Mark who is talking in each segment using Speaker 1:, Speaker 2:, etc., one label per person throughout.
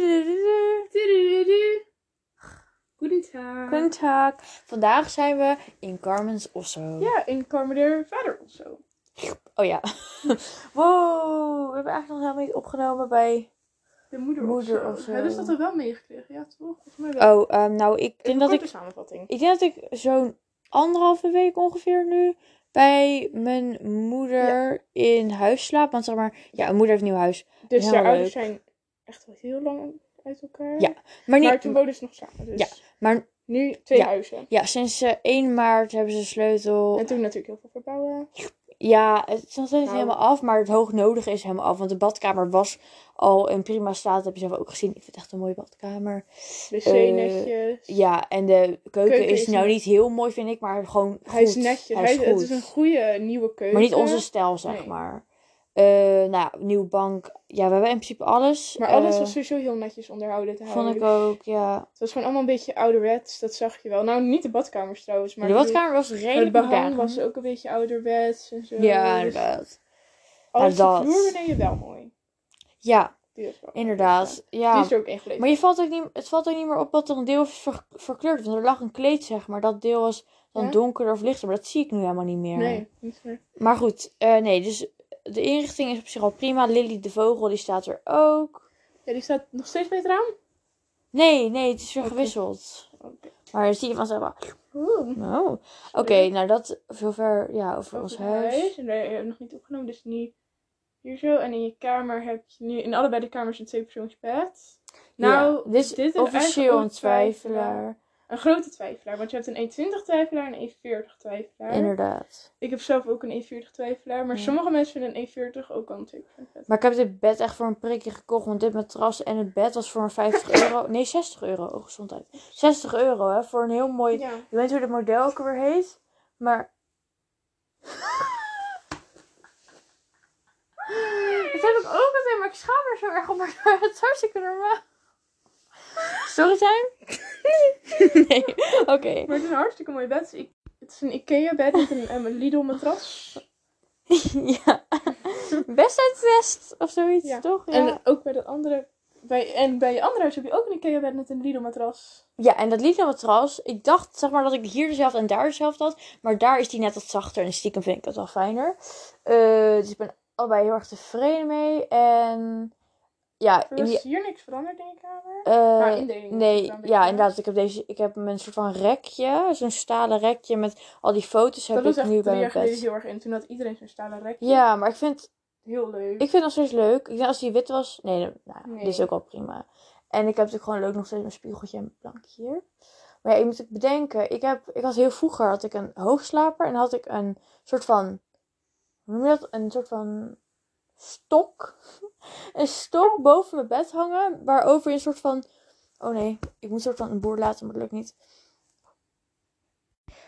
Speaker 1: Tudududu.
Speaker 2: Tudududu. Goedendag.
Speaker 1: Goedendag. Vandaag zijn we in Carmen's Osso.
Speaker 2: Ja, in Carmeder vader of zo.
Speaker 1: Oh ja. wow, we hebben eigenlijk nog helemaal niet opgenomen bij...
Speaker 2: De moeder,
Speaker 1: Moeder
Speaker 2: of zo.
Speaker 1: of zo.
Speaker 2: Hebben ze dat er wel meegekregen? Ja, toch? Volgens mij wel.
Speaker 1: Oh, ehm, nou, ik
Speaker 2: Even
Speaker 1: denk dat
Speaker 2: korte
Speaker 1: ik...
Speaker 2: samenvatting.
Speaker 1: Ik denk dat ik zo'n anderhalve week ongeveer nu bij mijn moeder in huis slaap. Want zeg maar, ja, mijn moeder heeft een nieuw huis.
Speaker 2: Dus
Speaker 1: Heel
Speaker 2: haar ouders
Speaker 1: leuk.
Speaker 2: zijn echt wel heel lang uit elkaar.
Speaker 1: Ja, Maar, niet,
Speaker 2: Maar toen woonden ze nog samen. Dus
Speaker 1: Ja, maar-
Speaker 2: nu twee
Speaker 1: Ja.
Speaker 2: huizen.
Speaker 1: ja, sinds eh, 1 maart hebben ze een sleutel.
Speaker 2: En toen natuurlijk heel veel verbouwen.
Speaker 1: Ja, het is nog steeds niet
Speaker 2: Nou.
Speaker 1: helemaal af, maar het hoognodige is helemaal af. Want de badkamer was al in prima staat, dat heb je zelf ook gezien. Ik vind het echt een mooie badkamer.
Speaker 2: Wc
Speaker 1: Eh,
Speaker 2: netjes.
Speaker 1: Ja, en de keuken,
Speaker 2: Keuken
Speaker 1: is,
Speaker 2: is
Speaker 1: nou
Speaker 2: net-
Speaker 1: niet heel mooi, vind ik, maar gewoon goed.
Speaker 2: Hij is netjes.
Speaker 1: Hij is
Speaker 2: het
Speaker 1: goed.
Speaker 2: is een goede nieuwe keuken.
Speaker 1: Maar niet onze stijl, zeg
Speaker 2: Nee.
Speaker 1: maar. Eh nou, nieuw bank. Ja, we hebben in principe alles.
Speaker 2: Maar alles
Speaker 1: Eh,
Speaker 2: was sowieso heel netjes onderhouden te houden.
Speaker 1: Vond ik ook, ja.
Speaker 2: Het was gewoon allemaal een beetje ouderwets, dat zag je wel. Nou, niet de badkamers trouwens, maar
Speaker 1: de
Speaker 2: ik bedoel-
Speaker 1: badkamer was
Speaker 2: Maar de
Speaker 1: redelijk
Speaker 2: behang
Speaker 1: modern.
Speaker 2: was ook een beetje ouderwets en zo.
Speaker 1: Ja,
Speaker 2: Dus
Speaker 1: inderdaad.
Speaker 2: al is de
Speaker 1: dat.
Speaker 2: vloer beneden wel mooi.
Speaker 1: Ja,
Speaker 2: Die is wel mooi, ja.
Speaker 1: inderdaad. Ja.
Speaker 2: Die is er ook ingeleverd.
Speaker 1: Maar je valt ook niet, het valt ook niet meer op dat er een deel is ver- verkleurd. Want er lag een kleed, zeg maar. Dat deel was dan
Speaker 2: Ja?
Speaker 1: donkerder of lichter. Maar dat zie ik nu helemaal niet meer.
Speaker 2: Nee, niet meer.
Speaker 1: Maar goed, eh, nee. Dus de inrichting is op zich al prima. Lily de Vogel, die staat er ook.
Speaker 2: Ja, die staat nog steeds bij het raam.
Speaker 1: Nee, nee, het is weer
Speaker 2: Oké.
Speaker 1: gewisseld.
Speaker 2: Oké.
Speaker 1: Maar dan zie je vanzelf wel.
Speaker 2: Oeh.
Speaker 1: Oh. Oké, nou dat zover ja, over, ons
Speaker 2: Over het
Speaker 1: huis.
Speaker 2: En daar hebben we nog niet opgenomen, dus nu hier zo. En in je kamer heb je nu in allebei de kamers een tweepersoonsbed. Nou,
Speaker 1: Ja, dit is officieel een
Speaker 2: eigen
Speaker 1: twijfelaar.
Speaker 2: Een grote twijfelaar, want je hebt een 1,20 twijfelaar en een 1,40 twijfelaar.
Speaker 1: Inderdaad.
Speaker 2: Ik heb zelf ook een 1,40 twijfelaar, maar
Speaker 1: Ja.
Speaker 2: sommige mensen vinden een 1,40 ook al een twijfelaar.
Speaker 1: Maar ik heb dit bed echt voor een prikje gekocht. Want dit matras en het bed was voor een 50 euro. Nee, 60 euro. Oh, gezondheid. 60 euro, hè. Voor een heel mooi...
Speaker 2: Ja.
Speaker 1: Je weet hoe dat model ook alweer heet. Maar... dat heb ik ook altijd, maar ik schaam er zo erg om. Maar het is hartstikke normaal. Sorry, zijn? nee, oké.
Speaker 2: Maar het is een hartstikke mooi bed. Ik, het is een Ikea bed met een, ehm, een Lidl matras.
Speaker 1: ja. Best uit test of zoiets,
Speaker 2: Ja.
Speaker 1: toch? Ja.
Speaker 2: En ook bij dat andere... Bij, en bij je andere huis heb je ook een Ikea bed met een Lidl matras.
Speaker 1: Ja, en dat Lidl matras. Ik dacht zeg maar dat ik hier dezelfde en daar dezelfde had. Maar daar is die net wat zachter. En stiekem vind ik dat wel fijner. Eh, dus ik ben allebei heel erg tevreden mee. En ja,
Speaker 2: Er
Speaker 1: in
Speaker 2: was
Speaker 1: die,
Speaker 2: hier niks veranderd in je kamer.
Speaker 1: eh,
Speaker 2: Maar indeling is
Speaker 1: nee,
Speaker 2: wel een beetje
Speaker 1: ja, inderdaad. Ik heb, deze, ik heb een soort van rekje. Zo'n stalen rekje met al die foto's
Speaker 2: Dat
Speaker 1: heb
Speaker 2: was
Speaker 1: ik
Speaker 2: echt
Speaker 1: nu
Speaker 2: drie
Speaker 1: bij
Speaker 2: jaar
Speaker 1: mijn
Speaker 2: geleden
Speaker 1: bed.
Speaker 2: heel erg in. Toen had iedereen zo'n stalen rekje.
Speaker 1: Ja, maar ik vind,
Speaker 2: Heel leuk.
Speaker 1: ik vind het nog steeds leuk. Ik denk als die wit was. Nee, dan- nou, ja,
Speaker 2: Nee.
Speaker 1: dit is ook wel prima. En ik heb natuurlijk gewoon leuk nog steeds mijn spiegeltje en mijn plankje hier. Maar ja, je moet ook bedenken. Ik, heb, ik had heel vroeger had ik een hoogslaper. En dan had ik een soort van... Hoe noem je dat? Een soort van stok. een stok boven mijn bed hangen. Waarover je een soort van... Oh nee, ik moet een soort van een boer laten, maar dat lukt niet.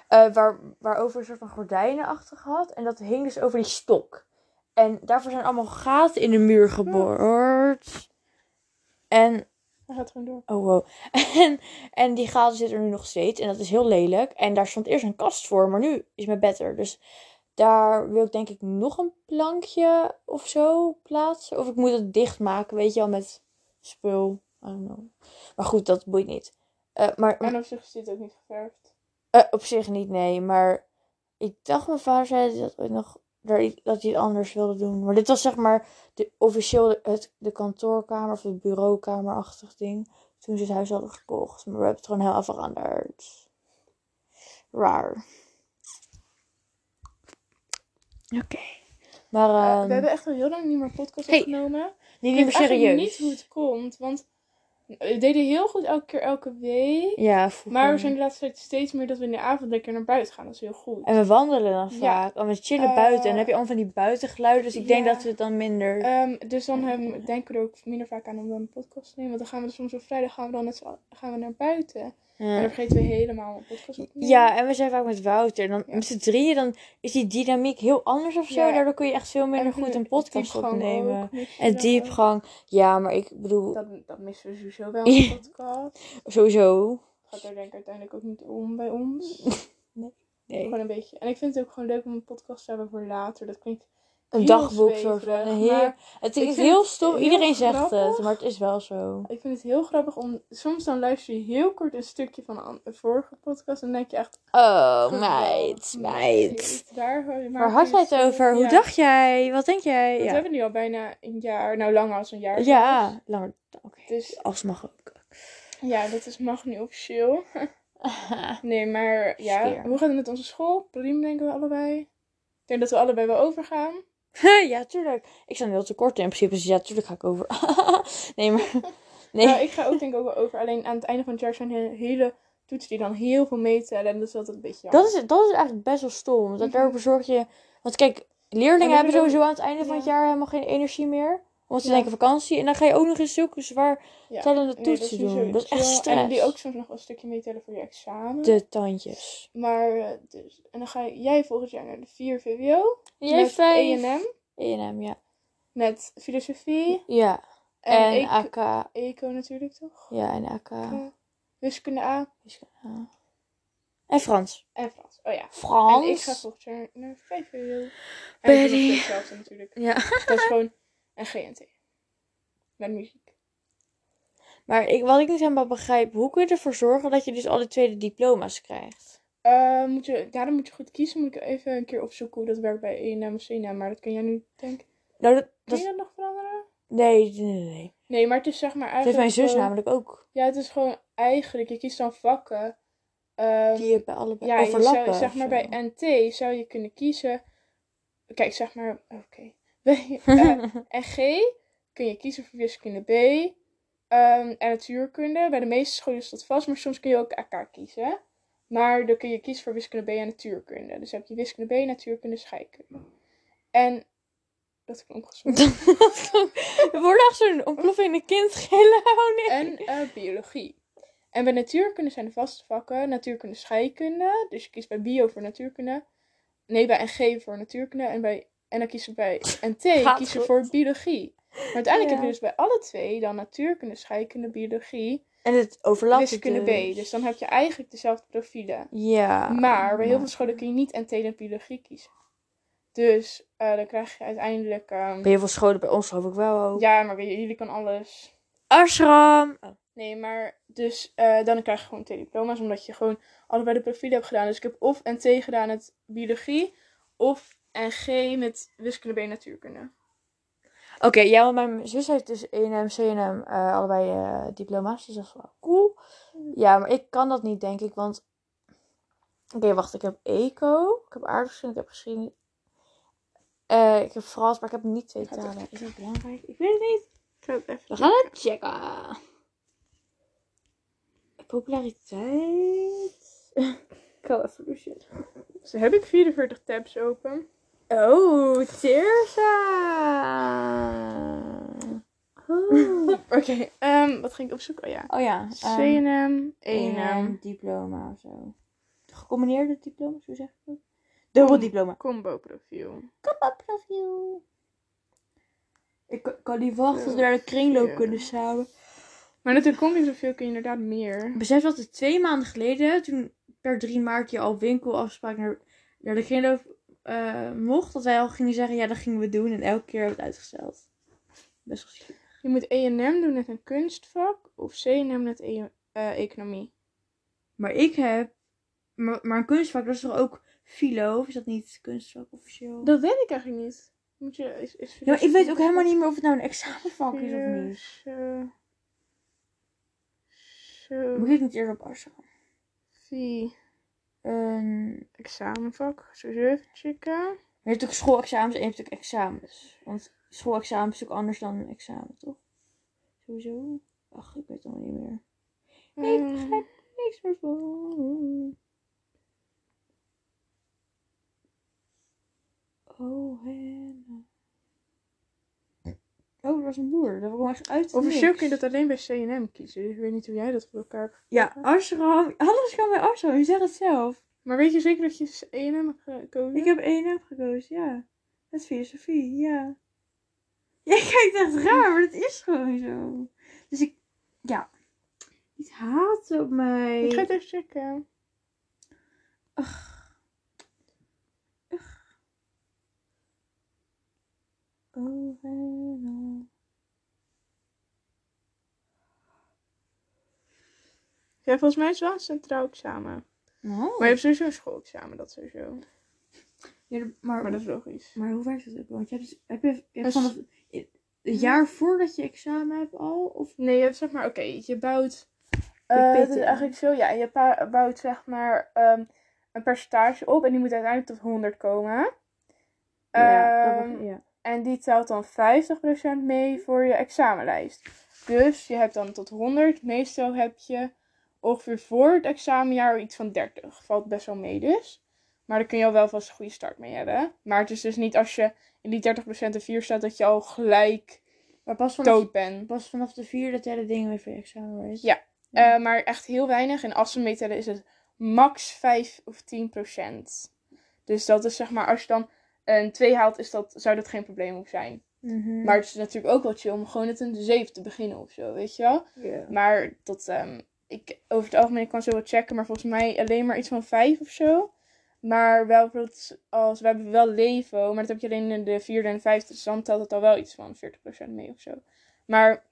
Speaker 1: Eh, waar, waarover een soort van gordijnen achter had. En dat hing dus over die stok. En daarvoor zijn allemaal gaten in de muur geboord. En
Speaker 2: Hij gaat gewoon door.
Speaker 1: Oh wow. En, en die gaten zitten er nu nog steeds. En dat is heel lelijk. En daar stond eerst een kast voor, maar nu is mijn bed er. Dus daar wil ik denk ik nog een plankje of zo plaatsen. Of ik moet het dichtmaken, weet je wel, met spul. I don't know. Maar goed, dat boeit niet. Eh, maar
Speaker 2: En op zich is dit ook niet geverfd.
Speaker 1: eh, op zich niet, nee. Maar ik dacht, mijn vader zei dat ooit nog daar i- dat hij het anders wilde doen. Maar dit was zeg maar de, officieel de- het, de kantoorkamer of de bureaukamerachtig ding. Toen ze het huis hadden gekocht. Maar we hebben het gewoon heel veranderd. Raar. Oké. Maar
Speaker 2: Eh,
Speaker 1: ehm,
Speaker 2: we hebben echt al heel lang niet meer een podcast
Speaker 1: hey,
Speaker 2: opgenomen.
Speaker 1: die nemen we
Speaker 2: weet eigenlijk
Speaker 1: serieus.
Speaker 2: niet hoe het komt, want we deden heel goed elke keer elke week.
Speaker 1: Ja, vroeger.
Speaker 2: Maar we zijn de laatste tijd steeds meer dat we in de avond lekker naar buiten gaan. Dat is heel goed.
Speaker 1: En we wandelen dan
Speaker 2: Ja.
Speaker 1: vaak. En we chillen
Speaker 2: Eh,
Speaker 1: buiten. En dan heb je allemaal van die buitengeluiden. Dus ik denk
Speaker 2: ja.
Speaker 1: dat we het dan minder...
Speaker 2: Ehm, dus dan ehm, denken we er ook minder vaak aan om dan een podcast te nemen. Want dan gaan we dus soms op vrijdag gaan we dan net z'n allen- gaan we naar buiten. En
Speaker 1: Ja.
Speaker 2: dan vergeten we helemaal een podcast op te nemen.
Speaker 1: Ja, en we zijn vaak met Wouter. En dan
Speaker 2: Ja.
Speaker 1: met z'n drieën, dan is die dynamiek heel anders of zo.
Speaker 2: Ja.
Speaker 1: Daardoor kun je echt veel minder
Speaker 2: En
Speaker 1: goed een
Speaker 2: diepgang
Speaker 1: podcast opnemen.
Speaker 2: ook, mis je
Speaker 1: En
Speaker 2: dan ook.
Speaker 1: diepgang. Ja, maar ik bedoel,
Speaker 2: Dat, dat missen we sowieso wel in
Speaker 1: Ja.
Speaker 2: een podcast.
Speaker 1: sowieso.
Speaker 2: Gaat er denk ik uiteindelijk ook niet om bij ons.
Speaker 1: Nee.
Speaker 2: Gewoon een beetje. En ik vind het ook gewoon leuk om een podcast te hebben voor later. Dat klinkt
Speaker 1: Een
Speaker 2: heel
Speaker 1: dagboek soort van.
Speaker 2: zweverig,
Speaker 1: Een heel-
Speaker 2: maar
Speaker 1: het
Speaker 2: ik
Speaker 1: is
Speaker 2: vind
Speaker 1: heel
Speaker 2: het
Speaker 1: stom.
Speaker 2: heel
Speaker 1: Iedereen zegt het,
Speaker 2: grappig.
Speaker 1: maar het is wel zo.
Speaker 2: Ik vind het heel grappig om. Soms dan luister je heel kort een stukje van een an- een vorige podcast. En dan denk je echt.
Speaker 1: Oh,
Speaker 2: geweldig,
Speaker 1: meid, meid.
Speaker 2: meid, Daar, maar
Speaker 1: Waar had jij het over? Hoe dacht jij? Wat denk jij?
Speaker 2: Dat
Speaker 1: Ja,
Speaker 2: hebben we nu al bijna een jaar. Nou, langer als een jaar.
Speaker 1: ja langer. Oké.
Speaker 2: Dus
Speaker 1: Als mag ook.
Speaker 2: ja, dat is, mag nu officieel. Nee, maar ja.
Speaker 1: Sfeer.
Speaker 2: Hoe gaat het met onze school? Prima, denken we allebei. Ik denk dat we allebei wel overgaan.
Speaker 1: ja, tuurlijk. Ik sta nu heel te kort in principe, dus ja, tuurlijk ga ik over. nee, maar. Nee.
Speaker 2: Nou, ik ga ook denk ik ook wel over. Alleen aan het einde van het jaar zijn he- hele toetsen die dan heel veel meetellen. En dat is altijd een beetje jammer.
Speaker 1: Dat is, dat is eigenlijk best wel stom. Dat
Speaker 2: Mhm.
Speaker 1: daarop zorg je. Want kijk,
Speaker 2: Maar
Speaker 1: leerlingen
Speaker 2: dan
Speaker 1: hebben
Speaker 2: hebben we
Speaker 1: sowieso aan het einde van het
Speaker 2: ja.
Speaker 1: jaar helemaal geen energie meer. Omdat ze
Speaker 2: Ja.
Speaker 1: denken vakantie. En dan ga je ook nog eens zulke zwaar
Speaker 2: Ja.
Speaker 1: tellende
Speaker 2: Nee, dat is
Speaker 1: toetsen
Speaker 2: niet zo
Speaker 1: doen. Dat is echt
Speaker 2: chill.
Speaker 1: stress.
Speaker 2: En die ook soms nog wel een stukje meetellen voor je examen.
Speaker 1: De tandjes.
Speaker 2: Maar, eh, dus, en dan ga je- jij volgend jaar naar de 4 VWO.
Speaker 1: Jij
Speaker 2: met
Speaker 1: vijf.
Speaker 2: E&M.
Speaker 1: E&M, E ja.
Speaker 2: Met filosofie.
Speaker 1: Ja.
Speaker 2: En, E
Speaker 1: En,
Speaker 2: eco-
Speaker 1: AK.
Speaker 2: eco natuurlijk, toch?
Speaker 1: Ja, en AK.
Speaker 2: Ja. Wiskunde A.
Speaker 1: En Frans.
Speaker 2: En Frans. Oh ja.
Speaker 1: Frans.
Speaker 2: En ik ga volgend jaar naar 5 VWO. En ik doe nog
Speaker 1: Betty.
Speaker 2: steeds hetzelfde natuurlijk.
Speaker 1: Ja.
Speaker 2: Dat is gewoon een GNT. Met muziek.
Speaker 1: Maar ik, wat ik niet helemaal begrijp, hoe kun je ervoor zorgen dat je dus al die tweede diploma's krijgt?
Speaker 2: Eh, moet je, daarom moet je goed kiezen. Moet ik even een keer opzoeken hoe dat werkt bij E&M of C&M. Maar dat kun jij nu, denk ik.
Speaker 1: Nou, dat.
Speaker 2: Kun
Speaker 1: dat
Speaker 2: je dat nog veranderen?
Speaker 1: nee, nee, nee, nee.
Speaker 2: Nee, maar het is zeg maar
Speaker 1: Dat
Speaker 2: eigenlijk.
Speaker 1: heeft mijn zus
Speaker 2: gewoon-
Speaker 1: namelijk ook.
Speaker 2: Ja, het is gewoon eigenlijk. Je kiest dan vakken. ehm,
Speaker 1: Die je bij allebei
Speaker 2: ja, je
Speaker 1: overlappen.
Speaker 2: zou,
Speaker 1: of
Speaker 2: zeg maar
Speaker 1: zo.
Speaker 2: bij NT zou je kunnen kiezen. Kijk, zeg maar. Oké. Bij eh, NG kun je kiezen voor wiskunde B. ehm, en natuurkunde. Bij de meeste scholen is dat vast, maar soms kun je ook AK kiezen. Maar dan kun je kiezen voor wiskunde B en natuurkunde. Dus heb je wiskunde B, natuurkunde, scheikunde. En. Dat heb ik omgezocht.
Speaker 1: We worden eh, echt zo'n ontploffende kind gillen. Oh nee.
Speaker 2: en eh, biologie. En bij natuurkunde zijn de vaste vakken natuurkunde, scheikunde. Dus je kiest bij bio voor natuurkunde. Nee, bij NG voor natuurkunde. En, bij, en dan kies je bij NT
Speaker 1: Gaat
Speaker 2: kies je
Speaker 1: goed.
Speaker 2: voor biologie. Maar uiteindelijk
Speaker 1: Ja.
Speaker 2: heb je dus bij alle twee dan natuurkunde, scheikunde, biologie,
Speaker 1: En het Ah, overlapt
Speaker 2: wiskunde
Speaker 1: dus.
Speaker 2: B. Dus dan heb je eigenlijk dezelfde profielen.
Speaker 1: Ja.
Speaker 2: maar bij heel
Speaker 1: nou.
Speaker 2: veel scholen kun je niet NT en biologie kiezen. Dus eh, dan krijg je uiteindelijk... ehm,
Speaker 1: Bij heel veel scholen, bij ons geloof ik wel ook.
Speaker 2: ja, maar bij jullie kan alles...
Speaker 1: Ashram. Oh.
Speaker 2: Nee, maar dus eh, dan krijg je gewoon twee diploma's, omdat je gewoon allebei de profielen hebt gedaan. Dus ik heb of NT gedaan met biologie, of NG met wiskunde B natuurkunde.
Speaker 1: Oké, ja, want mijn zus heeft dus E&M, C&M, eh, allebei eh, diploma's. Dus dat is wel cool. Ja, maar ik kan dat niet, denk ik, want... Oké, wacht. Ik heb eco, ik heb aardrijkskunde, ik heb geschiedenis. Eh, ik heb Frans, maar ik heb niet twee
Speaker 2: Gaat
Speaker 1: talen.
Speaker 2: echt.
Speaker 1: Is dat belangrijk? Ik weet het niet.
Speaker 2: Ik ga het even
Speaker 1: We gaan het checken. Populariteit. Coevolution.
Speaker 2: Zo Dus heb ik 44 tabs open.
Speaker 1: Oh, Oh.
Speaker 2: Oké, ehm, wat ging ik opzoeken? Oh ja. E
Speaker 1: oh ja. ehm,
Speaker 2: CNM,
Speaker 1: een
Speaker 2: ENM,
Speaker 1: diploma of zo. Gecombineerde diploma's, hoe zeg ik dat? Dubbel
Speaker 2: Kom-
Speaker 1: diploma.
Speaker 2: combo profiel.
Speaker 1: Kom op, profiel. Ik ka- kan niet wachten tot we naar de
Speaker 2: Ja.
Speaker 1: kringloop kunnen samen.
Speaker 2: Maar met een combo profiel kun je inderdaad meer.
Speaker 1: Besef dat het twee maanden geleden, toen per 3 maart je al winkelafspraak naar, naar de kringloop eh, mocht, dat wij al gingen zeggen, ja, dat gingen we doen. En elke keer hebben we het uitgesteld. Best wel ziek.
Speaker 2: Je moet ENM doen met een kunstvak of CNM met E- eh, economie.
Speaker 1: Maar ik heb... Maar, maar een kunstvak, dat is toch ook filo? Of is dat niet kunstvak officieel?
Speaker 2: Dat weet ik eigenlijk niet. Moet je, is, is
Speaker 1: Ja, maar ik weet ook helemaal niet meer of het nou een examenvak is of niet.
Speaker 2: Zo.
Speaker 1: Moet
Speaker 2: Zo.
Speaker 1: ik het niet eerder op Arsenal?
Speaker 2: Vier.
Speaker 1: Ehm,
Speaker 2: Examenvak. Sowieso even checken.
Speaker 1: je hebt ook schoolexamens en je hebt ook examens. Want schoolexamen is ook anders dan een examen, toch? Sowieso. Ach, ik weet het allemaal niet meer. Nee, ik
Speaker 2: Ehm,
Speaker 1: begrijp er niks meer van. Oh, Hannah. Oh, dat was een boer. Dat kwam echt uit. de
Speaker 2: Officieel
Speaker 1: niks.
Speaker 2: kun je dat alleen bij CNM kiezen. Dus ik weet niet hoe jij dat voor elkaar hebt.
Speaker 1: Ja, Arsenal. Alles kan bij Arsenal. Je zegt het zelf.
Speaker 2: Maar weet je zeker dat je CNM hebt gekozen?
Speaker 1: Ik heb één app gekozen, ja. Met filosofie, ja. Jij kijkt echt raar, maar dat is gewoon zo. Dus ik, ja. Niet haat op mij.
Speaker 2: Ik ga het even checken.
Speaker 1: Ugh. Ugh.
Speaker 3: Over en over.
Speaker 2: Ja, volgens mij is het wel een centraal examen.
Speaker 3: Nou,
Speaker 2: Maar je hebt sowieso een schoolexamen, dat sowieso.
Speaker 1: Ja, de- maar,
Speaker 2: Maar
Speaker 1: maar,
Speaker 2: dat is logisch.
Speaker 1: hoe werkt dat ook? Want je hebt, dus- heb je, je hebt
Speaker 2: Als-
Speaker 1: vanaf het jaar voordat je examen hebt al? Of
Speaker 2: Nee, je hebt zeg maar, oké, je bouwt.
Speaker 1: De
Speaker 2: eh, dat is
Speaker 1: pitten.
Speaker 2: eigenlijk zo, ja. Je pa- bouwt zeg maar ehm, een percentage op en die moet uiteindelijk tot 100 komen.
Speaker 1: ja, dat
Speaker 2: Ehm,
Speaker 1: mag- ja.
Speaker 2: En die telt dan 50% mee voor je examenlijst. Dus je hebt dan tot 100. Meestal heb je ongeveer voor het examenjaar iets van 30. Valt best wel mee dus. Maar daar kun je al wel vast een goede start mee hebben. Maar het is dus niet als je in die 30% en 4 staat dat je al gelijk
Speaker 1: Maar pas vanaf,
Speaker 2: dood bent.
Speaker 1: pas vanaf de vier dat hele ding weer voor je examen is.
Speaker 2: Ja. Eh, maar echt heel weinig. En als ze meetellen is het max 5 of 10%. Dus dat is zeg maar, als je dan een 2 haalt, is dat, zou dat geen probleem op zijn.
Speaker 1: Mm.
Speaker 3: mhm.
Speaker 2: Maar het is natuurlijk ook wel chill om gewoon het een 7 te beginnen of zo, weet je wel.
Speaker 1: Ja.
Speaker 2: Maar dat, ehm, ik, over het algemeen ik kan zo wat checken, maar volgens mij alleen maar iets van 5 of zo. Maar wel bijvoorbeeld als, we hebben wel Levo, maar dat heb je alleen in de vierde en vijfde, dus dan telt het al wel iets van 40% mee of zo. Maar,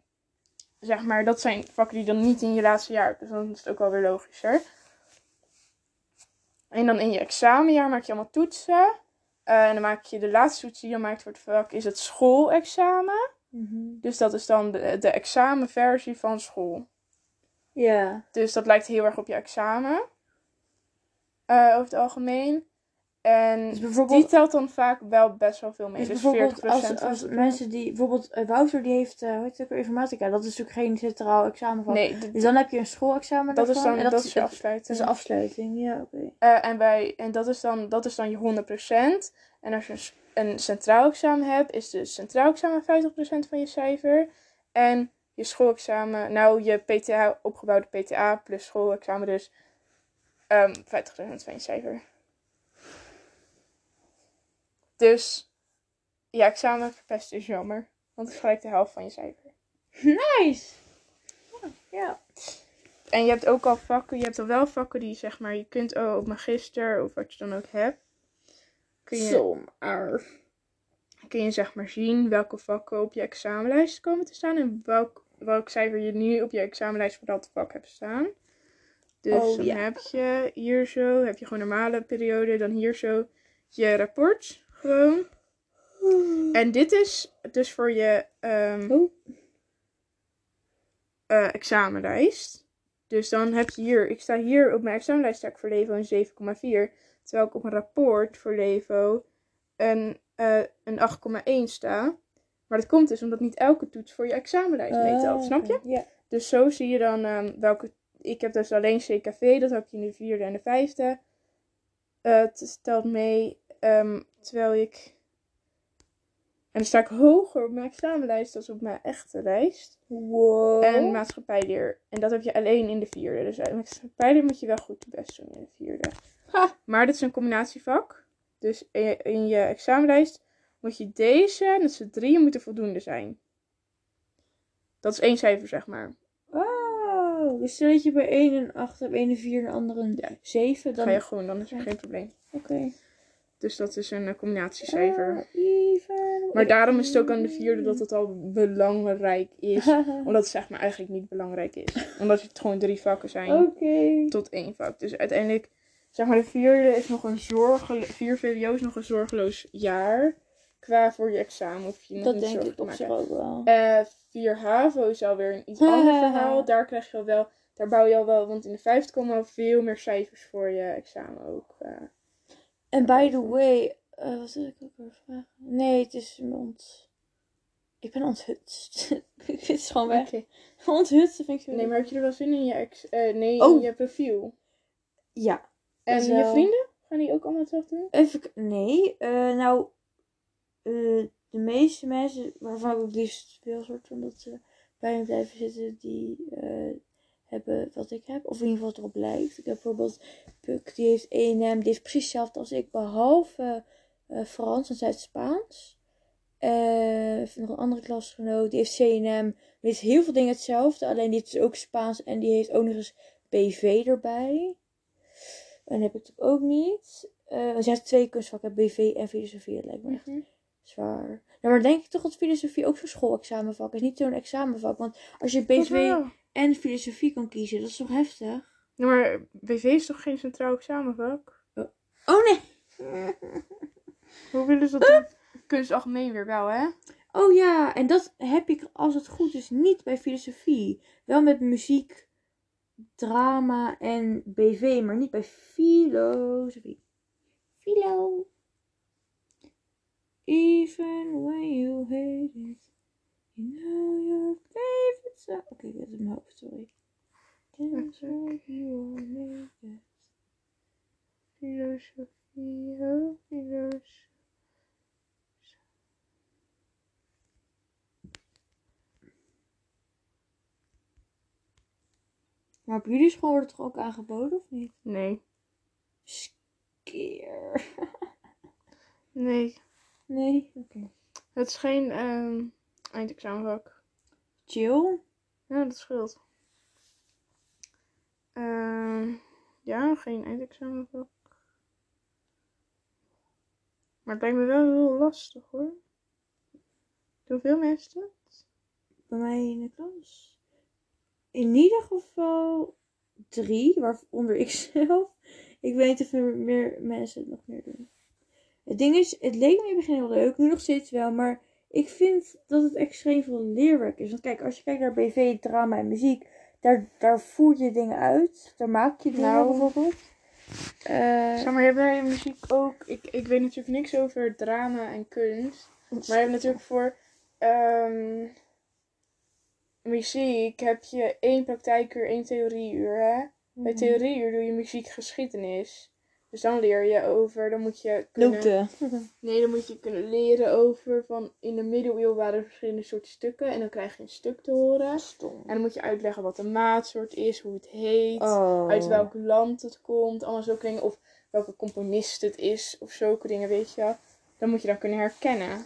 Speaker 2: zeg maar, dat zijn vakken die je dan niet in je laatste jaar hebt, dus dan is het ook wel weer logischer. En dan in je examenjaar maak je allemaal toetsen. Eh, en dan maak je de laatste toets die je maakt voor het vak, is het schoolexamen.
Speaker 3: Mhm.
Speaker 2: Dus dat is dan de, de examenversie van school.
Speaker 1: Ja.
Speaker 2: Dus dat lijkt heel erg op je examen. eh, over het algemeen.
Speaker 1: Dus
Speaker 2: En die
Speaker 1: bijvoorbeeld,
Speaker 2: telt dan vaak wel best wel veel mee.
Speaker 1: dus
Speaker 2: Dus, 40%
Speaker 1: bijvoorbeeld als,
Speaker 2: van
Speaker 1: als
Speaker 2: de-
Speaker 1: mensen die... Bijvoorbeeld eh, Wouter die heeft, eh, hoe heet het ook, weer, informatica. Dat is natuurlijk geen centraal examen van.
Speaker 2: Nee, d-
Speaker 1: Dus dan heb je een schoolexamen
Speaker 2: dat is
Speaker 1: daarvan
Speaker 2: dan
Speaker 1: en
Speaker 2: dat, is je
Speaker 1: het- dat
Speaker 2: afsluiting.
Speaker 1: is een afsluiting, ja, oké.
Speaker 2: Eh, en bij, en dat, is dan, dat is dan je 100%. En als je een, s- een centraal examen hebt, is dus centraal examen 50% van je cijfer. En je schoolexamen, nou je PTA, opgebouwde PTA plus schoolexamen, dus ehm 50% van je cijfer. Dus ja, examen verpest is jammer, want het is gelijk de helft van je cijfer.
Speaker 1: Nice! Ja.
Speaker 2: En je hebt ook al vakken, je hebt al wel vakken die zeg maar, je kunt oh, op magister of wat je dan ook hebt. Kun je,
Speaker 1: Zomaar.
Speaker 2: kun je zeg maar zien welke vakken op je examenlijst komen te staan en welk, welk cijfer je nu op je examenlijst voor dat vak hebt staan. Dus
Speaker 1: Oh,
Speaker 2: dan
Speaker 1: ja.
Speaker 2: heb je hier zo, heb je gewoon normale periode, dan hier zo je rapport gewoon. En dit is dus voor je ehm,
Speaker 1: Oh.
Speaker 2: eh, examenlijst. Dus dan heb je hier, ik sta hier op mijn examenlijst sta ik voor Levo een 7,4. Terwijl ik op mijn rapport voor Levo een, eh, een 8,1 sta. Maar dat komt dus omdat niet elke toets voor je examenlijst meetelt,
Speaker 1: Ah,
Speaker 2: snap je?
Speaker 1: Ja.
Speaker 2: Dus zo zie je dan ehm, welke. Ik heb dus alleen CKV, dat heb je in de vierde en de vijfde. Eh, Het telt mee ehm, terwijl ik. En dan sta ik hoger op mijn examenlijst dan op mijn echte lijst.
Speaker 1: Wow.
Speaker 2: En maatschappijleer. En dat heb je alleen in de vierde. Dus eh, maatschappijleer moet je wel goed je best doen in de vierde.
Speaker 1: Ha.
Speaker 2: Maar dit is een combinatievak. Dus in je, in je examenlijst moet je deze, dat ze drieën, moeten voldoende zijn. Dat is één cijfer, zeg maar.
Speaker 1: Wow. Dus stel dat je bij 1 een 8 hebt, 1 een 4 en ander een
Speaker 2: Ja.
Speaker 1: 7, dan...
Speaker 2: Ga je groen, dan is er geen probleem.
Speaker 1: Oké.
Speaker 2: Dus dat is een eh, combinatiecijfer.
Speaker 1: Ah, even-
Speaker 2: maar daarom is het ook aan de vierde dat het al belangrijk is. Omdat het zeg maar eigenlijk niet belangrijk is. Omdat het gewoon drie vakken zijn
Speaker 1: Oké.
Speaker 2: tot één vak. Dus uiteindelijk, zeg maar de vierde is nog een zorgelo- vier VWO is nog een zorgeloos jaar. Qua voor je examen of je nog
Speaker 1: Dat
Speaker 2: niet
Speaker 1: denk
Speaker 2: zorgen
Speaker 1: ik op
Speaker 2: gemaakt
Speaker 1: zich
Speaker 2: hebt.
Speaker 1: ook wel.
Speaker 2: Eh, vier HAVO is alweer een iets ander verhaal. Daar krijg je al wel, daar bouw je al wel, want in de vijfde komen al veel meer cijfers voor je examen ook.
Speaker 1: Oh,
Speaker 2: eh.
Speaker 1: En by the way, eh wat wil ik ook weer vragen? Nee, het is me ont... Ik ben onthutst. ik zit gewoon weg.
Speaker 2: Oké.
Speaker 1: Onthutst vind ik zo...
Speaker 2: Nee, maar heb je er wel zin in je, ex eh, nee, in
Speaker 1: Oh.
Speaker 2: je profiel?
Speaker 1: Ja.
Speaker 2: En
Speaker 1: Dus
Speaker 2: je
Speaker 1: wel-
Speaker 2: vrienden? Gaan die ook allemaal hetzelfde doen?
Speaker 1: Even... k- Nee. eh, nou... eh, de meeste mensen waarvan ik ook liefst wil soort van dat ze bij me blijven zitten, die eh, hebben wat ik heb. Of in ieder geval wat erop lijkt. Ik heb bijvoorbeeld Puk, die heeft E&M, die heeft precies hetzelfde als ik, behalve eh, Frans en zij is Spaans. Eh, ik vind nog een andere klasgenoot, die heeft C&M, die heeft heel veel dingen hetzelfde, alleen die heeft dus ook Spaans en die heeft ook nog eens BV erbij. En heb ik natuurlijk ook niet. Eh, want zij heeft twee kunstvakken, BV en filosofie, dat lijkt me echt zwaar. Ja, maar denk ik toch dat filosofie ook zo'n schoolexamenvak is? Niet zo'n examenvak. Want als je BTW en filosofie kan kiezen, dat is toch heftig?
Speaker 2: Ja, maar BV is toch geen centraal examenvak?
Speaker 1: Oh nee!
Speaker 2: Hoe willen ze dat doen? Kunst algemeen weer wel, hè?
Speaker 1: Oh ja, en dat heb ik als het goed is niet bij filosofie. Wel met muziek, drama en BV, maar niet bij filosofie. Filo. Even when you hate it, you know your favorite song. Oké, dat is in mijn hoofd, sorry. Dance like you are made of.
Speaker 2: Filosofie, oh, filosofie.
Speaker 1: Maar op jullie school wordt het toch ook aangeboden, of niet?
Speaker 2: Nee.
Speaker 1: Skeer.
Speaker 2: Nee.
Speaker 1: Nee, oké.
Speaker 2: Het is geen ehm, eindexamenvak.
Speaker 1: Chill.
Speaker 2: Ja, dat scheelt. Ehm, ja, geen eindexamenvak. Maar het lijkt me wel heel lastig hoor. Doen veel mensen dat?
Speaker 1: bij mij in de klas. In ieder geval drie, waaronder ik zelf. Ik weet of er meer mensen het nog meer doen. Het ding is, het leek me in het begin heel leuk, nu nog steeds wel, maar ik vind dat het extreem veel leerwerk is. Want kijk, als je kijkt naar BV, drama en muziek, daar, daar voer je dingen uit. Daar maak je dingen
Speaker 2: Nou.
Speaker 1: bijvoorbeeld. Eh,
Speaker 2: Ja, maar je hebt bij muziek ook. Ik, ik weet natuurlijk niks over drama en kunst. Maar je hebt natuurlijk voor ehm, muziek heb je één praktijkuur, één theorieuur. Hè? Bij
Speaker 1: Mhm.
Speaker 2: theorieuur doe je muziekgeschiedenis. Dus dan leer je over, dan moet je kunnen,
Speaker 1: Noten.
Speaker 2: Nee, dan moet je kunnen leren over van in de middeleeuwen waren er verschillende soorten stukken. En dan krijg je een stuk te horen.
Speaker 1: Stom.
Speaker 2: En dan moet je uitleggen wat de maatsoort is, hoe het heet
Speaker 1: Oh.
Speaker 2: uit welk land het komt, allemaal zulke dingen. Of welke componist het is, of zulke dingen, weet je wel. Dan moet je dan kunnen herkennen.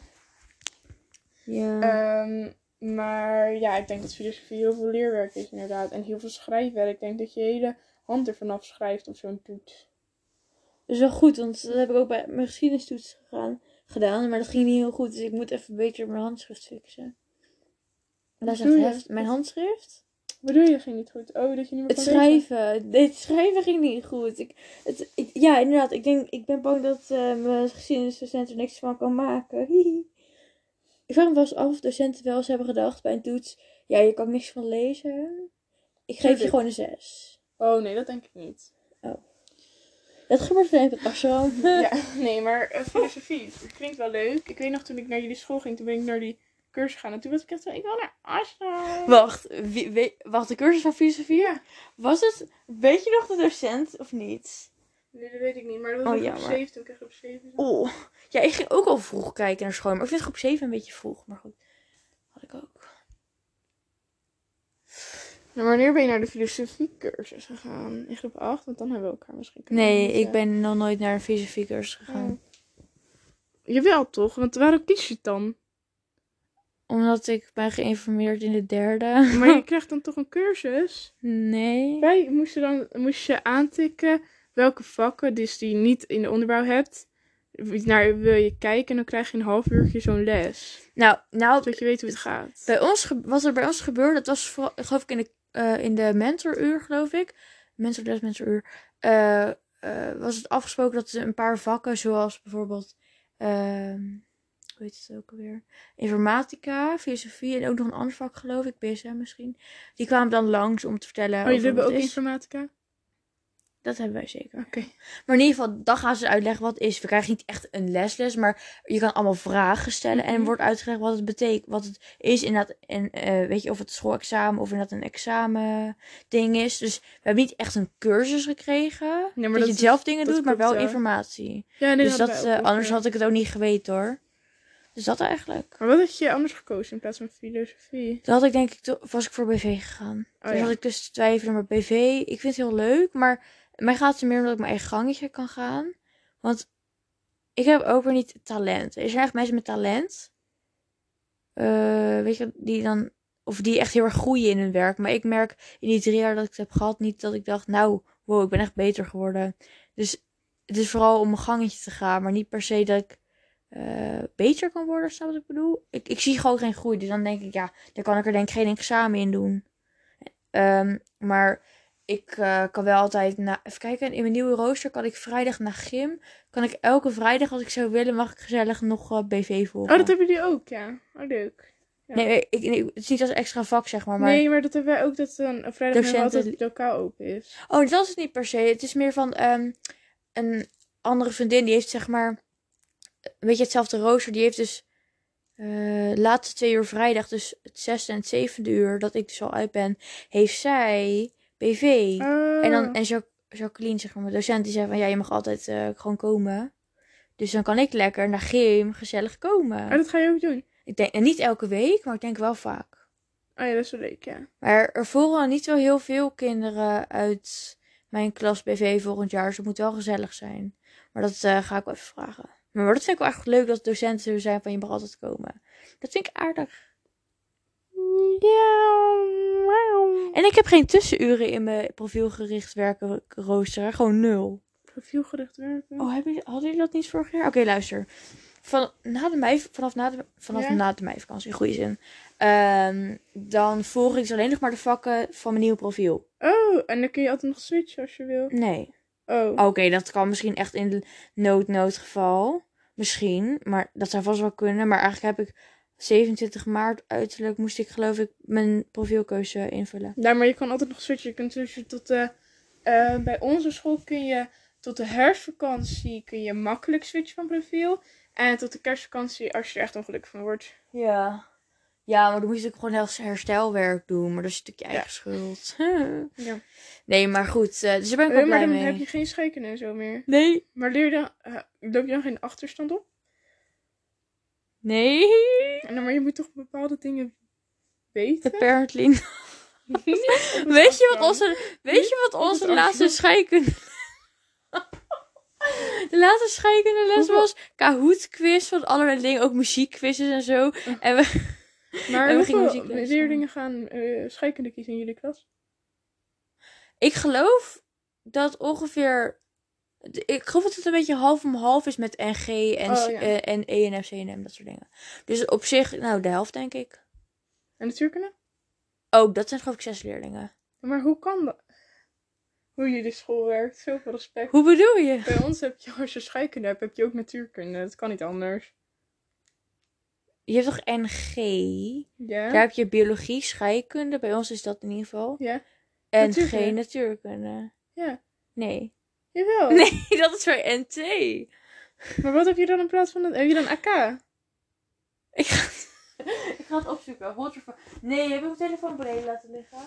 Speaker 1: Ja.
Speaker 2: Ehm, maar ja, ik denk dat filosofie heel veel leerwerk is, inderdaad. En heel veel schrijfwerk. Ik denk dat je hele hand er vanaf schrijft of zo'n toets.
Speaker 1: Dat is wel goed, want dat heb ik ook bij mijn geschiedenistoets gegaan, gedaan. Maar dat ging niet heel goed, dus ik moet even beter mijn handschrift fixen. Dat is
Speaker 2: Wat doe
Speaker 1: echt
Speaker 2: je?
Speaker 1: heftig. Mijn handschrift?
Speaker 2: Wat doe je, dat ging niet goed? Oh, dat je niet meer
Speaker 1: Het
Speaker 2: kan lezen?
Speaker 1: schrijven. Nee, Het schrijven ging niet goed. Ik, het, ik, ja, inderdaad. Ik, denk, ik ben bang dat eh, mijn geschiedenisdocent er niks van kan maken. Hihi. Ik vraag me wel eens af of docenten wel eens hebben gedacht bij een toets. Ja, je kan er niks van lezen. Ik geef je
Speaker 2: Tuurlijk.
Speaker 1: gewoon een 6.
Speaker 2: Oh nee, dat denk ik niet.
Speaker 1: Dat gebeurt wel even. Ach zo.
Speaker 2: ja, nee, maar eh, filosofie het klinkt wel leuk. Ik weet nog toen ik naar jullie school ging, toen ben ik naar die cursus gegaan. En toen was ik echt zo, ik wil naar Asda.
Speaker 1: Wacht, wie, we- wacht, de cursus van filosofie?
Speaker 2: Ja.
Speaker 1: Was het, weet je nog de docent of niet?
Speaker 2: Nee, dat weet ik niet, maar dat
Speaker 1: Oh,
Speaker 2: was ik op
Speaker 1: jammer.
Speaker 2: 7, toen kreeg ik op 7.
Speaker 1: Oeh, ja, ik ging ook al vroeg kijken naar school, maar ik vind groep 7 een beetje vroeg, maar goed. Had ik ook.
Speaker 2: Nou, wanneer ben je naar de filosofiecursus gegaan? In groep 8? Want dan hebben we elkaar misschien kunnen
Speaker 1: Nee,
Speaker 2: ontmoeten.
Speaker 1: ik ben nog nooit naar een filosofiecursus gegaan.
Speaker 2: Jawel toch? Want waarom kies je het dan?
Speaker 1: Omdat ik ben geïnformeerd in de derde.
Speaker 2: Maar je krijgt dan toch een cursus?
Speaker 1: Nee.
Speaker 2: Wij moesten dan moest je aantikken welke vakken, dus die je niet in de onderbouw hebt, naar wil je kijken en dan krijg je een half uurtje zo'n les.
Speaker 1: Nou, nou
Speaker 2: Zodat je weet hoe het gaat.
Speaker 1: bij ons, ge- wat er bij ons gebeurde, dat was vooral, geloof ik in de, eh, in de mentoruur, geloof ik. Mentorles, mentoruur. eh, eh, was het afgesproken dat ze een paar vakken, zoals bijvoorbeeld, ehm, hoe heet het ook alweer? Informatica, filosofie en ook nog een ander vak, geloof ik, BSM misschien. Die kwamen dan langs om te vertellen.
Speaker 2: Oh, jullie
Speaker 1: over
Speaker 2: hebben
Speaker 1: wat
Speaker 2: ook
Speaker 1: het is.
Speaker 2: informatica? Oké.
Speaker 1: Dat hebben wij zeker. Maar in ieder geval, dan gaan ze uitleggen wat het is. We krijgen niet echt een lesles, maar je kan allemaal vragen stellen. En
Speaker 2: Mhm.
Speaker 1: er wordt uitgelegd wat het betekent, wat het is. Inderdaad, en, eh, weet je, of het schoolexamen of inderdaad een examen ding is. Dus we hebben niet echt een cursus gekregen.
Speaker 2: Nee, maar
Speaker 1: dat,
Speaker 2: dat
Speaker 1: je
Speaker 2: is-
Speaker 1: zelf dingen
Speaker 2: dat
Speaker 1: doet, maar
Speaker 2: klopt
Speaker 1: wel
Speaker 2: wel.
Speaker 1: informatie.
Speaker 2: Ja, nee,
Speaker 1: dus dat,
Speaker 2: hadden wij ook
Speaker 1: eh, anders
Speaker 2: nog,
Speaker 1: had ik het ook niet geweten hoor. Dus dat eigenlijk.
Speaker 2: ja. Maar wat had je anders gekozen in plaats van filosofie?
Speaker 1: Toen had ik denk ik, to- was ik voor BV gegaan.
Speaker 2: Oh,
Speaker 1: dus
Speaker 2: ja.
Speaker 1: had ik dus te twijfelen, maar BV, ik vind het heel leuk. Maar mij gaat het er meer omdat ik mijn eigen gangetje kan gaan. Want ik heb ook weer niet talent. Er zijn echt mensen met talent. eh, weet je, die dan, of die echt heel erg groeien in hun werk. Maar ik merk in die drie jaar dat ik het heb gehad, niet dat ik dacht, nou, wow, ik ben echt beter geworden. Dus het is vooral om mijn gangetje te gaan, maar niet per se dat ik eh, beter kan worden, snap je wat ik bedoel? Ik, ik zie gewoon geen groei, dus dan denk ik, ja, dan kan ik er denk ik geen examen in doen. Ehm, maar ik eh, kan wel altijd, na, even kijken, in mijn nieuwe rooster kan ik vrijdag naar gym. Kan ik elke vrijdag, als ik zou willen, mag ik gezellig nog eh, BV volgen.
Speaker 2: Oh, dat hebben jullie ook, ja. Oh, leuk. ja.
Speaker 1: Nee, ik, nee, het is niet als extra vak, zeg maar. maar
Speaker 2: Nee, maar dat hebben wij ook dat dan op vrijdagmiddag
Speaker 1: Docenten-
Speaker 2: altijd het lokaal open is.
Speaker 1: Oh, dat is het niet per se. Het is meer van ehm, een andere vriendin. Die heeft zeg maar. Weet je, hetzelfde rooster. Die heeft dus. eh laatste twee uur vrijdag, dus het zesde en het zevende uur dat ik dus al uit ben, heeft zij BV.
Speaker 2: Oh.
Speaker 1: En dan en Jac- Jacqueline, zeg maar, mijn docent, die zei van ja, je mag altijd eh, gewoon komen. Dus dan kan ik lekker naar gym gezellig
Speaker 2: Oh,
Speaker 1: komen.
Speaker 2: dat ga je ook doen.
Speaker 1: Ik denk, en niet elke week, maar ik denk wel vaak.
Speaker 2: Oh ja, dat is wel leuk, ja.
Speaker 1: Maar er volgen niet zo heel veel kinderen uit mijn klas BV volgend jaar. Dus het moet wel gezellig zijn. Maar dat eh, ga ik wel even vragen. Maar dat vind ik wel echt leuk dat docenten er zijn van je mag altijd komen. Dat vind ik aardig. En ik heb geen tussenuren in mijn profielgericht werken rooster. hè. Gewoon nul.
Speaker 2: Profielgericht werken.
Speaker 1: Oh, hebben, jullie- hadden jullie dat niet vorig jaar? Oké, luister. Van, na de mei, vanaf na de, vanaf
Speaker 2: Ja.
Speaker 1: na de meivakantie, in goede zin. Ehm, dan volg ik dus alleen nog maar de vakken van mijn nieuwe profiel.
Speaker 2: Oh, en dan kun je altijd nog switchen als je wil.
Speaker 1: Nee.
Speaker 2: Oh.
Speaker 1: Oké, dat kan misschien echt in de nood-noodgeval. Misschien, maar dat zou vast wel kunnen. Maar eigenlijk heb ik 27 maart uiterlijk moest ik geloof ik mijn profielkeuze invullen.
Speaker 2: Ja, Nou, maar je kan altijd nog switchen. Je kunt dus tot de, eh, bij onze school kun je tot de herfstvakantie kun je makkelijk switchen van profiel. En tot de kerstvakantie als je er echt ongelukkig van wordt.
Speaker 1: Ja. Ja, maar dan moet je natuurlijk gewoon heel herstelwerk doen. Maar dat is natuurlijk je eigen schuld.
Speaker 2: Ja.
Speaker 1: Nee, maar goed. eh, dus daar ben ik
Speaker 2: Eh,
Speaker 1: wel
Speaker 2: maar
Speaker 1: blij
Speaker 2: dan
Speaker 1: mee.
Speaker 2: heb je geen scheiken en zo meer.
Speaker 1: Nee.
Speaker 2: Maar leer je dan, eh, loop je dan geen achterstand op?
Speaker 1: Nee.
Speaker 2: En dan, maar je moet toch bepaalde dingen weten?
Speaker 1: Apparently. not. Weet je wat onze, weet je wat
Speaker 2: is
Speaker 1: onze
Speaker 2: het
Speaker 1: laatste
Speaker 2: afstand.
Speaker 1: scheikunde... De laatste scheikunde les
Speaker 2: Hoeveel-
Speaker 1: was Kahoot quiz van allerlei dingen, ook muziekquizzes en zo. En we,
Speaker 2: Maar
Speaker 1: En we gingen
Speaker 2: hoeveel
Speaker 1: muziek lezen.
Speaker 2: leerlingen gaan eh scheikunde kiezen in jullie klas?
Speaker 1: ik geloof dat ongeveer, ik geloof dat het een beetje half om half is met NG en,
Speaker 2: Oh, ja.
Speaker 1: eh, en E en F, C en M, dat soort dingen. Dus op zich, nou de helft denk ik.
Speaker 2: En natuurkunde?
Speaker 1: Ook dat zijn geloof ik zes leerlingen.
Speaker 2: Maar hoe kan dat? Hoe jullie school werkt, zoveel respect.
Speaker 1: Hoe bedoel je?
Speaker 2: Bij ons heb je, als je scheikunde hebt, heb je ook natuurkunde. Dat kan niet anders.
Speaker 1: Je hebt toch NG?
Speaker 2: Ja?
Speaker 1: Daar heb je biologie, scheikunde. Bij ons is dat in ieder geval.
Speaker 2: Ja.
Speaker 1: En
Speaker 2: Natuurkunde.
Speaker 1: geen natuurkunde.
Speaker 2: Ja.
Speaker 1: Nee.
Speaker 2: Jawel.
Speaker 1: Nee, dat is voor NT.
Speaker 2: Maar wat heb je dan in plaats van... dat- Heb je dan AK?
Speaker 1: Ik ga, ik ga het opzoeken. Waterfall. Nee, heb ik mijn telefoon beneden laten liggen?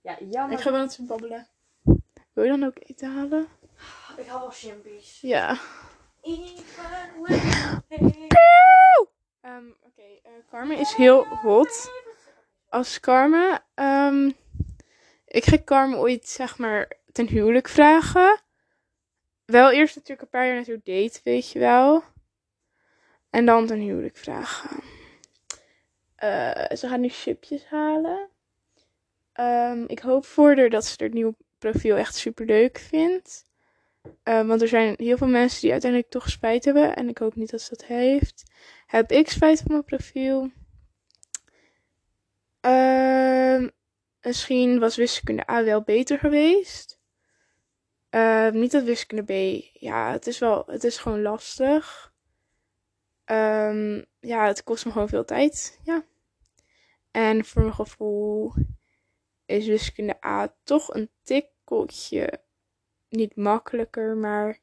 Speaker 1: Ja, jammer.
Speaker 2: Ik ga wel eens babbelen. Wil je dan ook eten halen?
Speaker 1: Ik hou wel shimpies.
Speaker 2: Ja. Ehm, Oké, eh, Carmen is heel hot. Als Carmen... ehm, ik ga Carmen ooit, zeg maar, ten huwelijk vragen. Wel eerst natuurlijk een paar jaar naartoe date, weet je wel. En dan ten huwelijk vragen. Eh, ze gaat nu chipjes halen. Ehm, ik hoop voor haar dat ze het nieuwe profiel echt super leuk vindt. Eh, want er zijn heel veel mensen die uiteindelijk toch spijt hebben. En ik hoop niet dat ze dat heeft. Heb ik spijt van mijn profiel? Ehm, misschien was wiskunde A wel beter geweest. Ehm, niet dat wiskunde B. Ja, het is wel. Het is gewoon lastig. Ehm, ja, het kost me gewoon veel tijd. Ja. En voor mijn gevoel is wiskunde A toch een tikkeltje niet makkelijker, maar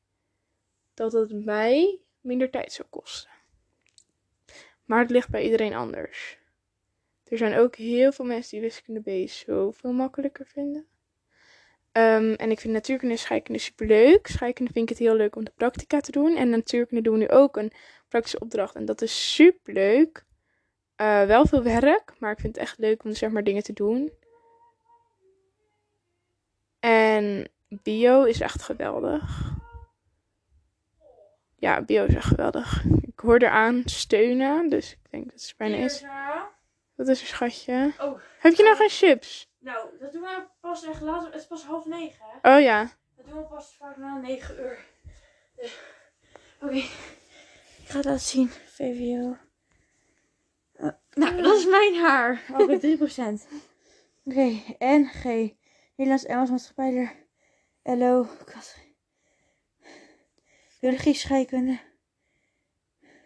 Speaker 2: dat het mij minder tijd zou kosten. Maar het ligt bij iedereen anders. Er zijn ook heel veel mensen die wiskunde B zoveel makkelijker vinden. Ehm, en ik vind natuurkunde en scheikunde superleuk. Scheikunde vind ik het heel leuk om de practica te doen. En natuurkunde doen we nu ook een praktische opdracht. En dat is superleuk. Eh wel veel werk, maar ik vind het echt leuk om zeg maar dingen te doen. En bio is echt geweldig. Ja, bio is echt geweldig. Ik hoor eraan steunen, dus ik denk dat het bijna is.
Speaker 1: Nou,
Speaker 2: Dat is een schatje.
Speaker 1: Oh.
Speaker 2: Heb je nou geen chips?
Speaker 1: Nou, dat doen we pas echt later. Het is pas half negen. hè?
Speaker 2: Oh ja.
Speaker 4: Eh,
Speaker 1: Dat doen we pas vaak na negen uur. Dus, Oké. ga het laten zien. VVO.
Speaker 4: Nou, dat is mijn haar.
Speaker 1: Oh,
Speaker 4: Ook een 3%.
Speaker 1: Oké, en G. Nederlands, Engels, maatschappijleer. LO. kat- Biologie, scheikunde.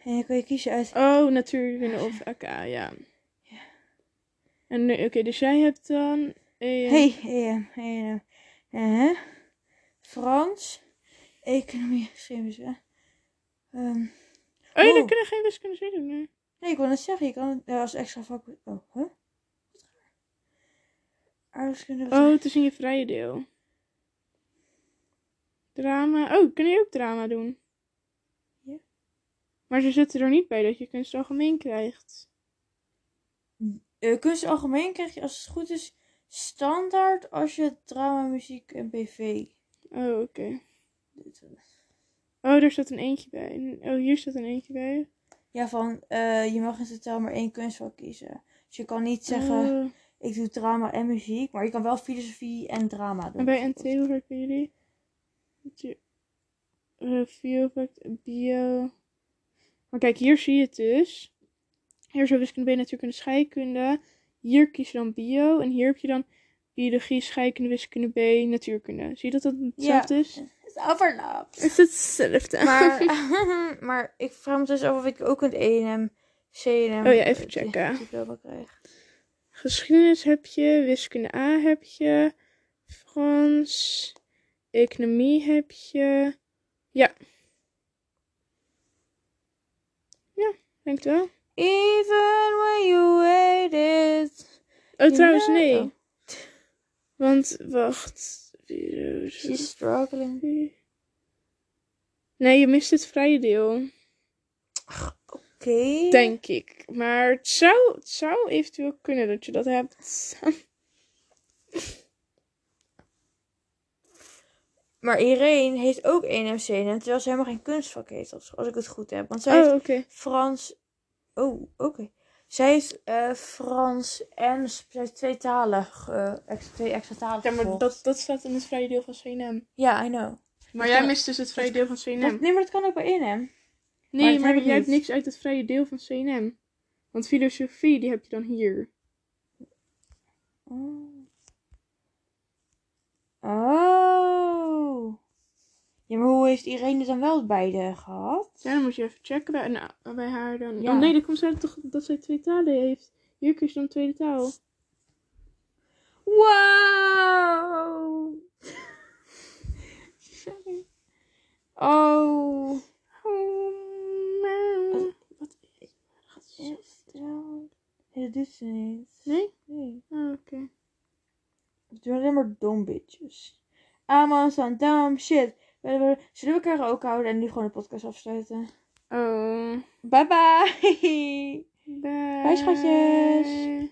Speaker 1: En dan kun je kiezen uit...
Speaker 2: Oh, natuurkunde of AK, Ah, ja. En eh, oké, dus jij hebt dan... eh,
Speaker 1: Hey, E, EM, EM. Eh, Frans. Economie, geschiedenis, hè. Ehm,
Speaker 2: Oh, ja,
Speaker 1: oh.
Speaker 2: dan kunnen geen wiskunde zo doen, hè?
Speaker 1: nee, ik wil net zeggen, je kan het eh, als extra vak... Oh, hè? Wat raar. Aardrijkskunde...
Speaker 2: Oh, het is in je vrije deel. Drama. Oh, kun je ook drama doen?
Speaker 1: Ja.
Speaker 2: Maar ze zitten er niet bij dat je kunst algemeen krijgt.
Speaker 1: Eh, kunst algemeen krijg je als het goed is standaard als je drama, muziek en BV
Speaker 2: Oh, oké.
Speaker 1: doet.
Speaker 2: Oh, daar staat een eentje bij. Oh, hier staat een eentje bij.
Speaker 1: Ja, van eh, je mag in totaal maar één kunstvak kiezen. Dus je kan niet zeggen,
Speaker 2: Oh,
Speaker 1: ik doe drama en muziek, maar je kan wel filosofie en drama doen.
Speaker 2: en bij NT,
Speaker 1: bijvoorbeeld.
Speaker 2: hoe vaak doen jullie? Review, bio. Maar kijk, hier zie je het dus. Hier zo wiskunde, B, natuurkunde, scheikunde. Hier kies je dan bio. En hier heb je dan biologie, scheikunde, wiskunde, B, natuurkunde. Zie je dat dat hetzelfde is?
Speaker 1: Het overlapt.
Speaker 2: is hetzelfde.
Speaker 1: Maar, maar ik vraag me dus af of ik ook een ENM, CNM...
Speaker 2: Oh ja, even
Speaker 1: eh,
Speaker 2: checken.
Speaker 1: diploma krijg.
Speaker 2: Geschiedenis heb je, wiskunde A heb je, Frans, economie heb je. Ja. Ja, denk het wel.
Speaker 1: Even when you hate it.
Speaker 2: Oh,
Speaker 1: Ja,
Speaker 2: trouwens, nee.
Speaker 1: oh.
Speaker 2: Want, wacht. Virus.
Speaker 1: She's struggling.
Speaker 2: Nee, je mist het vrije deel,
Speaker 1: Oké.
Speaker 2: denk ik. Maar het zou, het zou eventueel kunnen dat je dat hebt.
Speaker 1: Maar Irene heeft ook E ENM, CNM, terwijl ze helemaal geen kunstvak heeft, als als ik het goed heb. Want zij heeft
Speaker 2: Oh, oké.
Speaker 1: Frans. Oh, oké. Zij heeft eh, Frans en sp- zij heeft twee talen. ge- eh, ex- twee extra talen.
Speaker 2: Ja, maar
Speaker 1: gevolgd.
Speaker 2: dat, dat staat in het vrije deel van CNM.
Speaker 1: Ja, I know.
Speaker 2: Maar jij mist dus het vrije deel van CNM.
Speaker 1: Dat, nee, maar dat kan ook bij INM. Maar
Speaker 2: Nee,
Speaker 1: dat
Speaker 2: maar,
Speaker 1: heb ik
Speaker 2: jij hebt
Speaker 1: niet.
Speaker 2: niks uit het vrije deel van CNM. Want filosofie, die heb je dan hier.
Speaker 1: Oh. Oh. Ja, maar hoe heeft Irene het dan wel beide gehad?
Speaker 2: Ja, dan moet je even checken bij, nou, bij haar dan.
Speaker 1: Ja.
Speaker 2: Oh nee, dat komt uit toch dat zij twee talen heeft. Hier kies je dan tweede taal.
Speaker 1: Wow. Sorry. Oh.
Speaker 2: Oh, man. Wat is
Speaker 1: Ja, stel. Nee, dat doet ze niet.
Speaker 2: Nee?
Speaker 1: Nee.
Speaker 2: Oh, oké.
Speaker 1: Het zijn alleen maar dom bitches. Allemaal zo'n dumb shit. Zullen we elkaar ook houden en nu gewoon de podcast afsluiten?
Speaker 2: Oh.
Speaker 1: Bye bye!
Speaker 2: Bye.
Speaker 1: Bye, schatjes.